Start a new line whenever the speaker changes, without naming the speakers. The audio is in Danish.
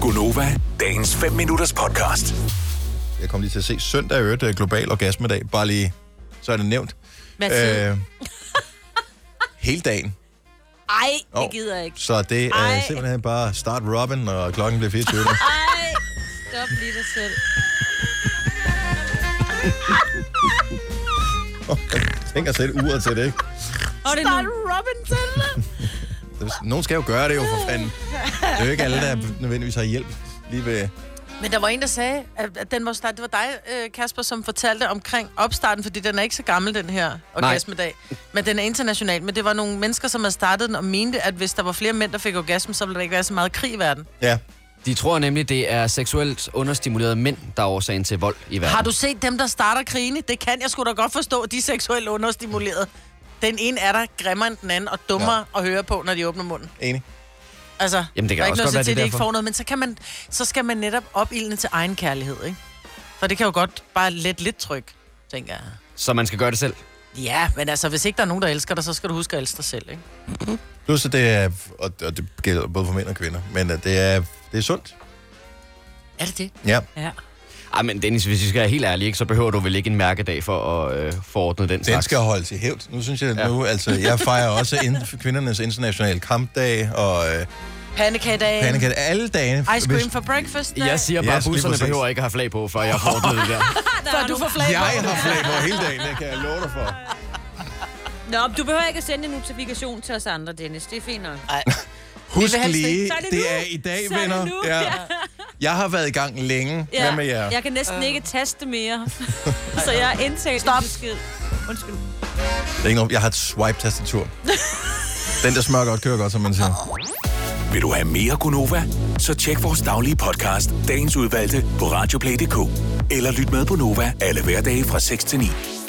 Gunova, dagens 5 minutters podcast.
Jeg kom lige til at se søndag i øvrigt øh, global orgasmedag. Bare lige, så er det nævnt.
Hvad
Øh,
tid?
hele dagen.
Ej,
Jo.
det gider jeg ikke.
Så det er
Ej.
simpelthen bare start Robin, når klokken bliver 24.
Ej, stop lige dig selv.
Okay. Tænk at sætte uret til det, ikke?
Og det er nu.
Robinson.
Nogen skal jo gøre det jo, for fanden. Det er jo ikke alle, der nødvendigvis har hjælp lige ved...
Men der var en, der sagde, at at den var start. Det var dig, øh, Kasper, som fortalte omkring opstarten, fordi den er ikke så gammel, den her orgasmedag. Men den er international. Men det var nogle mennesker, som havde startet den og mente, at hvis der var flere mænd, der fik orgasme, så ville der ikke være så meget krig i verden.
Ja,
De tror nemlig, det er seksuelt understimulerede mænd, der er årsagen til vold i verden.
Har du set dem, der starter krigene? Det kan jeg sgu da godt forstå, at de er seksuelt understimuleret. Den ene er der grimmere end den anden og dummere ja. at høre på, når de åbner munden.
enig.
Altså,
Jamen, det kan
der er ikke
også
noget
godt være,
at til,
det
at
er
de ikke
derfor.
får noget, men så, kan man, så skal man netop opildne til egen kærlighed, ikke? For det kan jo godt bare let lidt tryk, tænker jeg.
Så man skal gøre det selv.
Ja, men altså, hvis ikke der er nogen, der elsker dig, så skal du huske at elske dig selv, ikke?
Plus, at det er... Og, og det gælder både for mænd og kvinder. Men at det er, det er sundt.
Er det det?
Ja.
Ja.
Ej, men Dennis, hvis vi skal være helt ærlige, ikke, så behøver du vel ikke en mærkedag for at øh, forordne den
Den
slags.
skal holdes i hævd. Nu synes jeg, at
Ja.
nu, altså, jeg fejrer også ind, kvindernes internationale kampdag og øh,
Pandekagedag.
pandekage alle dagene.
Ice cream for breakfast.
Jeg siger bare,
Ja,
at
lige
busserne
præcis.
behøver ikke at have flag på, før jeg forordner det der.
Før du får flag på.
Jeg har flag på hele dagen, det kan jeg love dig for.
Nå, men du behøver ikke at sende en notifikation til os andre, Dennis. Det er fint nok.
Husk
helst ikke.
lige,
Så er det
det
nu.
er i dag,
Så er det
venner.
nu,
Ja.
ja.
Jeg har været i gang længe. Hvad med jer?
Jeg kan næsten ikke taste mere. så jeg er indtalt Øh. Stop. besked. Undskyld.
Det er ikke noget, jeg har et swipe-tastatur. Den, der smører godt, kører godt, som man siger.
Vil du have mere Gunova? Så tjek vores daglige podcast, dagens udvalgte, på radioplay.dk. Eller lyt med på Nova alle hverdage fra 6 til 9.